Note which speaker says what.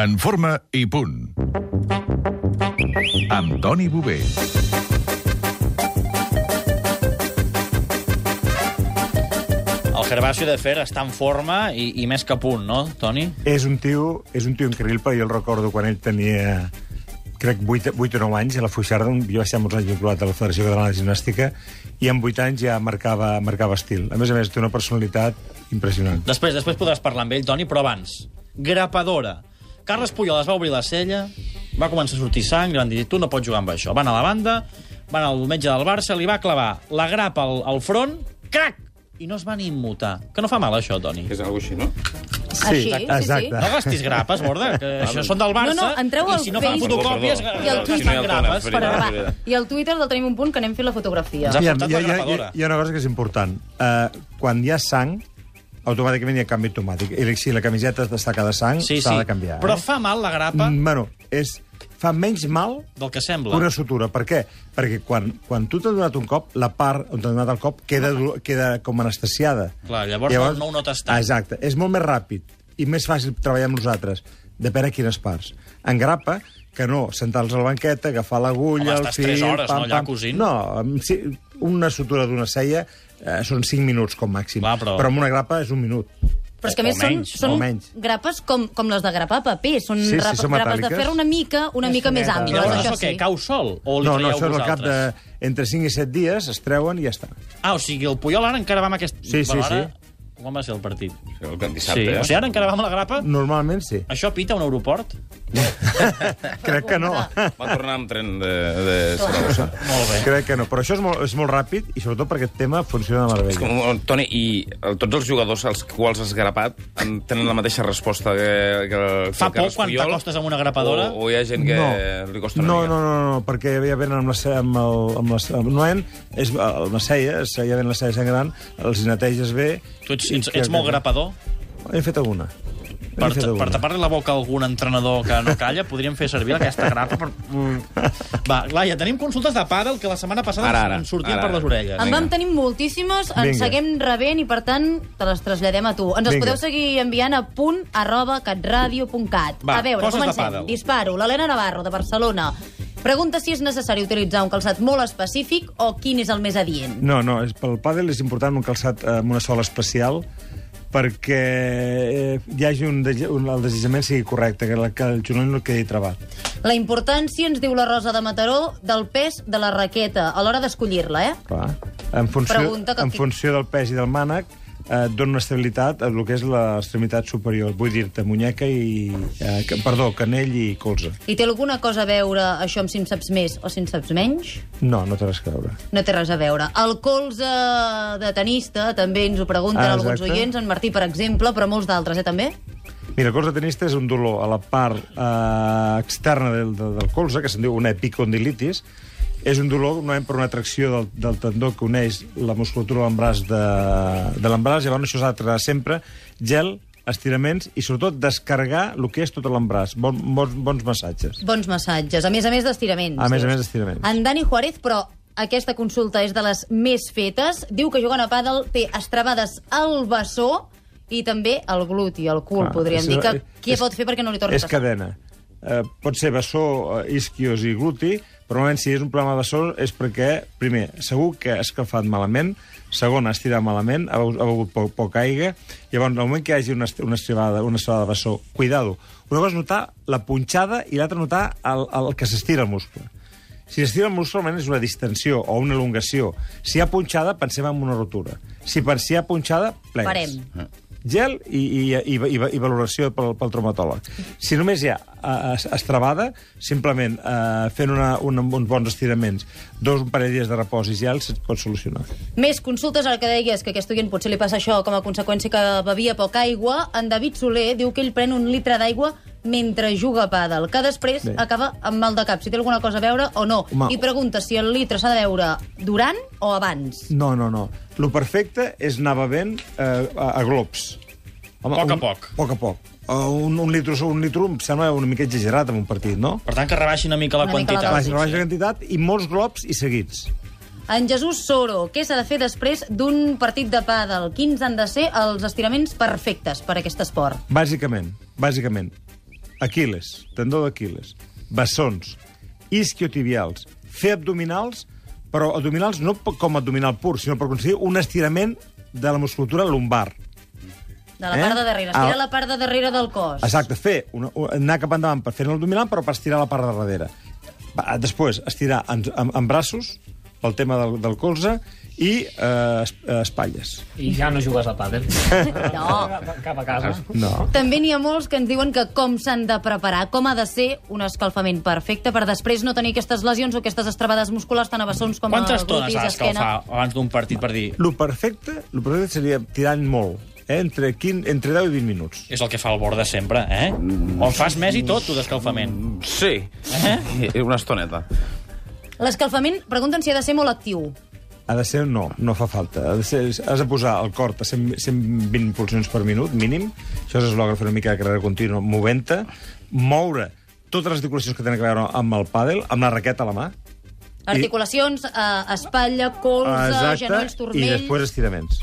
Speaker 1: En forma i punt. Amb Toni Bové.
Speaker 2: El Gervasio de Fer està en forma i, i més que a punt, no, Toni?
Speaker 3: És un tio, és un tio increïble, perquè jo el recordo quan ell tenia crec 8, 8 o 9 anys, a la Fuixarda, on jo vaig estar molts anys vinculat a la Federació Catalana de Gimnàstica, i amb 8 anys ja marcava, marcava estil. A més a més, té una personalitat impressionant.
Speaker 2: Després després podràs parlar amb ell, Toni, però abans. Grapadora. Carles Puyol es va obrir la cella, va començar a sortir sang, li van dir, tu no pots jugar amb això. Van a la banda, van al metge del Barça, li va clavar la grapa al, al front, crac! I no es van immutar. Que no fa mal, això, Toni.
Speaker 4: És alguna cosa així, no?
Speaker 3: Sí,
Speaker 5: Així, sí, sí.
Speaker 3: exacte.
Speaker 2: No gastis grapes, Borda, que això són del Barça,
Speaker 5: No, no, entreu
Speaker 2: i
Speaker 5: al
Speaker 2: si no fan
Speaker 5: Facebook-
Speaker 2: fotocòpies, eh,
Speaker 4: Perdó, perdó.
Speaker 5: I el
Speaker 2: gastant
Speaker 5: Twitter,
Speaker 2: grapes.
Speaker 4: Perdó,
Speaker 5: Però
Speaker 4: perdó.
Speaker 5: va,
Speaker 4: Espera.
Speaker 5: i al Twitter del tenim un punt que anem fent la
Speaker 2: Ja.
Speaker 5: fotografia. Ja.
Speaker 2: T'ha
Speaker 3: Aviam,
Speaker 2: portat
Speaker 3: hi, ha,
Speaker 2: la
Speaker 3: hi, ha, hi,
Speaker 2: grapadora.
Speaker 3: ha, hi ha una cosa que és important. Uh, quan hi ha sang, automàticament hi ha canvi automàtic. I si la camiseta està de sang, s'ha
Speaker 2: Sí, sí.
Speaker 3: de canviar.
Speaker 2: Però
Speaker 3: eh?
Speaker 2: fa mal la grapa
Speaker 3: Mm, Bueno, és, fa menys mal
Speaker 2: del que sembla.
Speaker 3: Una sutura. Per què? Perquè quan, quan tu t'has donat un cop, la part on t'has donat el cop queda, do- queda com anestesiada.
Speaker 2: Clar, llavors no ho notes tant.
Speaker 3: Exacte. És molt més ràpid i més fàcil treballar amb nosaltres. Depèn a quines parts. En grapa, que no, sentar-los a la banqueta, agafar
Speaker 2: Home,
Speaker 3: l'agulla, el
Speaker 2: estàs
Speaker 3: fil...
Speaker 2: tres hores, no, allà cosint.
Speaker 3: No, amb- sí, una sutura d'una cella eh, són 5 minuts com màxim.
Speaker 2: Clar, però-
Speaker 3: però amb una grapa és un minut.
Speaker 5: Però és que a
Speaker 2: O-
Speaker 5: més
Speaker 2: o
Speaker 5: són,
Speaker 2: menys,
Speaker 3: o
Speaker 5: són
Speaker 3: menys.
Speaker 5: grapes com, com les de grapar paper, són,
Speaker 3: Sí, sí,
Speaker 5: rap-
Speaker 3: són
Speaker 5: grapes de
Speaker 3: metàl·liques.
Speaker 5: fer una mica una mica més
Speaker 3: metàl·liques.
Speaker 2: I
Speaker 5: amples,
Speaker 2: llavors
Speaker 3: Però
Speaker 5: això
Speaker 2: això què?
Speaker 5: sí.
Speaker 2: Cau sol? O li
Speaker 3: No, no,
Speaker 2: traieu
Speaker 3: això és al
Speaker 2: vosaltres?
Speaker 3: cap de... Entre 5 i 7 dies es treuen i ja està.
Speaker 2: Ah, o sigui, el Puyol ara encara va amb aquest...
Speaker 3: Sí, sí,
Speaker 2: Però ara... Quan va ser el partit?
Speaker 4: El que dissabte,
Speaker 2: sí.
Speaker 4: eh?
Speaker 2: O sigui, ara encara va amb la grapa?
Speaker 3: Normalment sí.
Speaker 2: Això pita a un aeroport?
Speaker 3: Crec que no.
Speaker 4: Va tornar amb tren de... de... Saragossa.
Speaker 2: Molt bé.
Speaker 3: Crec que no, però això és molt, és molt ràpid i sobretot perquè el tema funciona de
Speaker 4: És
Speaker 3: meravella.
Speaker 4: com, oh, Toni, i eh, tots els jugadors als quals has grapat en tenen la mateixa resposta que, que, que
Speaker 2: Fa
Speaker 4: el
Speaker 2: por
Speaker 4: Carles
Speaker 2: quan
Speaker 4: Puyol?
Speaker 2: t'acostes amb una grapadora?
Speaker 4: O, o hi ha gent que li costa una
Speaker 3: no,
Speaker 4: mica?
Speaker 3: no, no, no, perquè ja venen amb la cella, amb, el, amb la, amb no en, és, amb la cella, es- ja ven la cella sangrant, els neteges bé...
Speaker 2: Tu ets,
Speaker 3: i
Speaker 2: ets,
Speaker 3: crec
Speaker 2: ets molt
Speaker 3: que-
Speaker 2: grapador?
Speaker 3: He fet alguna.
Speaker 2: Per,
Speaker 3: He fet
Speaker 2: per
Speaker 3: alguna.
Speaker 2: tapar-li la boca a algun entrenador que no calla, podríem fer servir aquesta grapa per... Mm. Va, Laia, tenim consultes de pàdel que la setmana passada
Speaker 4: Ara, ara.
Speaker 2: ens sortien
Speaker 4: Ara,
Speaker 2: per les
Speaker 4: ara.
Speaker 2: orelles.
Speaker 5: En
Speaker 4: Vinga.
Speaker 5: vam tenir moltíssimes, en
Speaker 3: Vinga.
Speaker 5: seguim rebent i, per tant, te les traslladem a tu. Ens les
Speaker 3: Vinga.
Speaker 5: podeu seguir enviant a punt arroba catradio.cat.
Speaker 2: Va,
Speaker 5: a veure,
Speaker 2: coses de
Speaker 5: comencem.
Speaker 2: pàdel.
Speaker 5: Disparo. L'Helena Navarro, de Barcelona. Pregunta si és necessari utilitzar un calçat molt específic o quin és el més adient.
Speaker 3: No, no, és, pel pàdel és important un calçat eh, amb una sola especial perquè eh, hi hagi un, dese- un, el desitjament sigui correcte, que, la, que el genoll no quedi trebat.
Speaker 5: La importància, ens diu la Rosa de Mataró, del pes de la raqueta a l'hora d'escollir-la, eh?
Speaker 3: Clar. En funció,
Speaker 5: Pregunta que-
Speaker 3: en funció del pes i del mànec, eh, et dona una estabilitat a el que és l'extremitat superior. Vull dir-te, munyeca i... Eh, que, perdó, canell i colze.
Speaker 5: I té alguna cosa a veure això amb si en saps més o si en saps menys?
Speaker 3: No, no té res a veure.
Speaker 5: No té res a veure. El colze de tenista també ens ho pregunten
Speaker 3: Ah,
Speaker 5: alguns
Speaker 3: exacte.
Speaker 5: oients, en Martí, per exemple, però molts d'altres, eh, també?
Speaker 3: Mira, el colze tenista és un dolor a la part eh, externa del, del, del colze, que se'n diu una epicondilitis. És un dolor normalment per una atracció del, del tendó que uneix la musculatura de l'embràs de, de l'embràs. Llavors això s'ha de tractar sempre gel, estiraments i sobretot descarregar el que és tot l'embràs. Bon, bons, bons massatges.
Speaker 5: Bons massatges, a més a més d'estiraments.
Speaker 3: A més a
Speaker 5: dius.
Speaker 3: més d'estiraments.
Speaker 5: En Dani Juárez, però aquesta consulta és de les més fetes, diu que jugant a pàdel té estrabades al bessó i també al gluti, al cul,
Speaker 3: Clar,
Speaker 5: podríem
Speaker 3: és-
Speaker 5: dir. Que,
Speaker 3: és-
Speaker 5: què
Speaker 3: és-
Speaker 5: pot fer perquè no li torni
Speaker 3: És
Speaker 5: a passar?
Speaker 3: cadena. Eh, pot ser bessó, eh, isquios i gluti, però normalment si és un problema de bessó és perquè, primer, segur que ha escalfat malament, segon, ha estirat malament, ha, begut- ha begut poc, poca aigua, llavors, al moment que hi hagi una, est- una, estribada, una estribada de bessó, cuidado. Una cosa és notar la punxada i l'altra notar el, el que s'estira el muscle. Si s'estira el muscle, almenys és una distensió o una elongació. Si hi ha punxada, pensem en una rotura. Si per si hi ha punxada, plegues Ah.
Speaker 5: Parem.
Speaker 3: gel i, i, i, i, i valoració pel, pel traumatòleg. Si només hi ha eh, es- estrabada, simplement eh, fent una, una, uns bons estiraments, dos un parell de dies de repòs i gel, se't pot solucionar.
Speaker 5: Més consultes, ara que deies que aquest oient potser li passa això com a conseqüència que bevia poca aigua. En David Soler diu que ell pren un litre d'aigua mentre juga a pàdel, que després
Speaker 3: Bé.
Speaker 5: acaba amb mal de cap, si té alguna cosa a veure o no.
Speaker 3: Home.
Speaker 5: I pregunta si el litre s'ha de veure durant o abans.
Speaker 3: No, no, no. Lo perfecte és anar bevent eh, a, a globs. Home,
Speaker 2: Poc a
Speaker 3: un-
Speaker 2: poc.
Speaker 3: Poc a poc. Uh, un, un litro, un litro em sembla una mica exagerat en un partit, no?
Speaker 2: Per tant, que rebaixi una mica la
Speaker 5: Una mica la
Speaker 2: quantitat.
Speaker 5: Ah,
Speaker 3: Baixa,
Speaker 5: sí,
Speaker 3: sí, baixa quantitat i molts globs i seguits.
Speaker 5: En Jesús Soro, què s'ha de fer després d'un partit de pàdel? Quins han de ser els estiraments perfectes per a aquest esport?
Speaker 3: Bàsicament, bàsicament. Aquiles, tendó d'Aquiles, bessons, isquiotibials, fer abdominals, però abdominals no p- com abdominal pur, sinó per aconseguir un estirament de la musculatura lumbar.
Speaker 5: De la
Speaker 3: Eh?
Speaker 5: part de darrere.
Speaker 3: Ah.
Speaker 5: Estira la part de darrere del cos.
Speaker 3: Exacte, fer una, u- anar cap endavant per fer l'abdominal, però per estirar la part de darrere. Va, després, estirar en, en, en braços, pel tema del, del colze, i eh, es- eh, espatlles.
Speaker 6: I ja no jugues al pàdel.
Speaker 5: No.
Speaker 6: Cap a casa.
Speaker 3: No.
Speaker 5: També n'hi ha molts que ens diuen que com s'han de preparar, com ha de ser un escalfament perfecte per després no tenir aquestes lesions o aquestes estrabades musculars tan a bessons com
Speaker 2: Quantes
Speaker 5: a
Speaker 2: estones
Speaker 5: glutis,
Speaker 2: has
Speaker 5: esquena.
Speaker 2: d'escalfar abans d'un partit per dir
Speaker 3: Lo perfecte, lo perfecte seria tirant molt, eh? entre, 15, entre 10 i 20 minuts.
Speaker 2: és el que fa el Borda sempre, eh? On fas més i tot, tu, d'escalfament.
Speaker 4: Sí, eh? una estoneta.
Speaker 5: L'escalfament, pregunten si ha de ser molt actiu.
Speaker 3: Ha de ser no, no fa falta. Ha de ser, has de posar el cor a 100, 120 pulsions per minut, mínim. Això és l'eslògan fer una mica de carrera contínua, movent-te, moure totes les articulacions que tenen a veure amb el pàdel, amb la raqueta a la mà.
Speaker 5: Articulacions, eh, espatlla, colze,
Speaker 3: i
Speaker 5: genolls,
Speaker 2: Ah,
Speaker 5: turmells...
Speaker 3: després estiraments.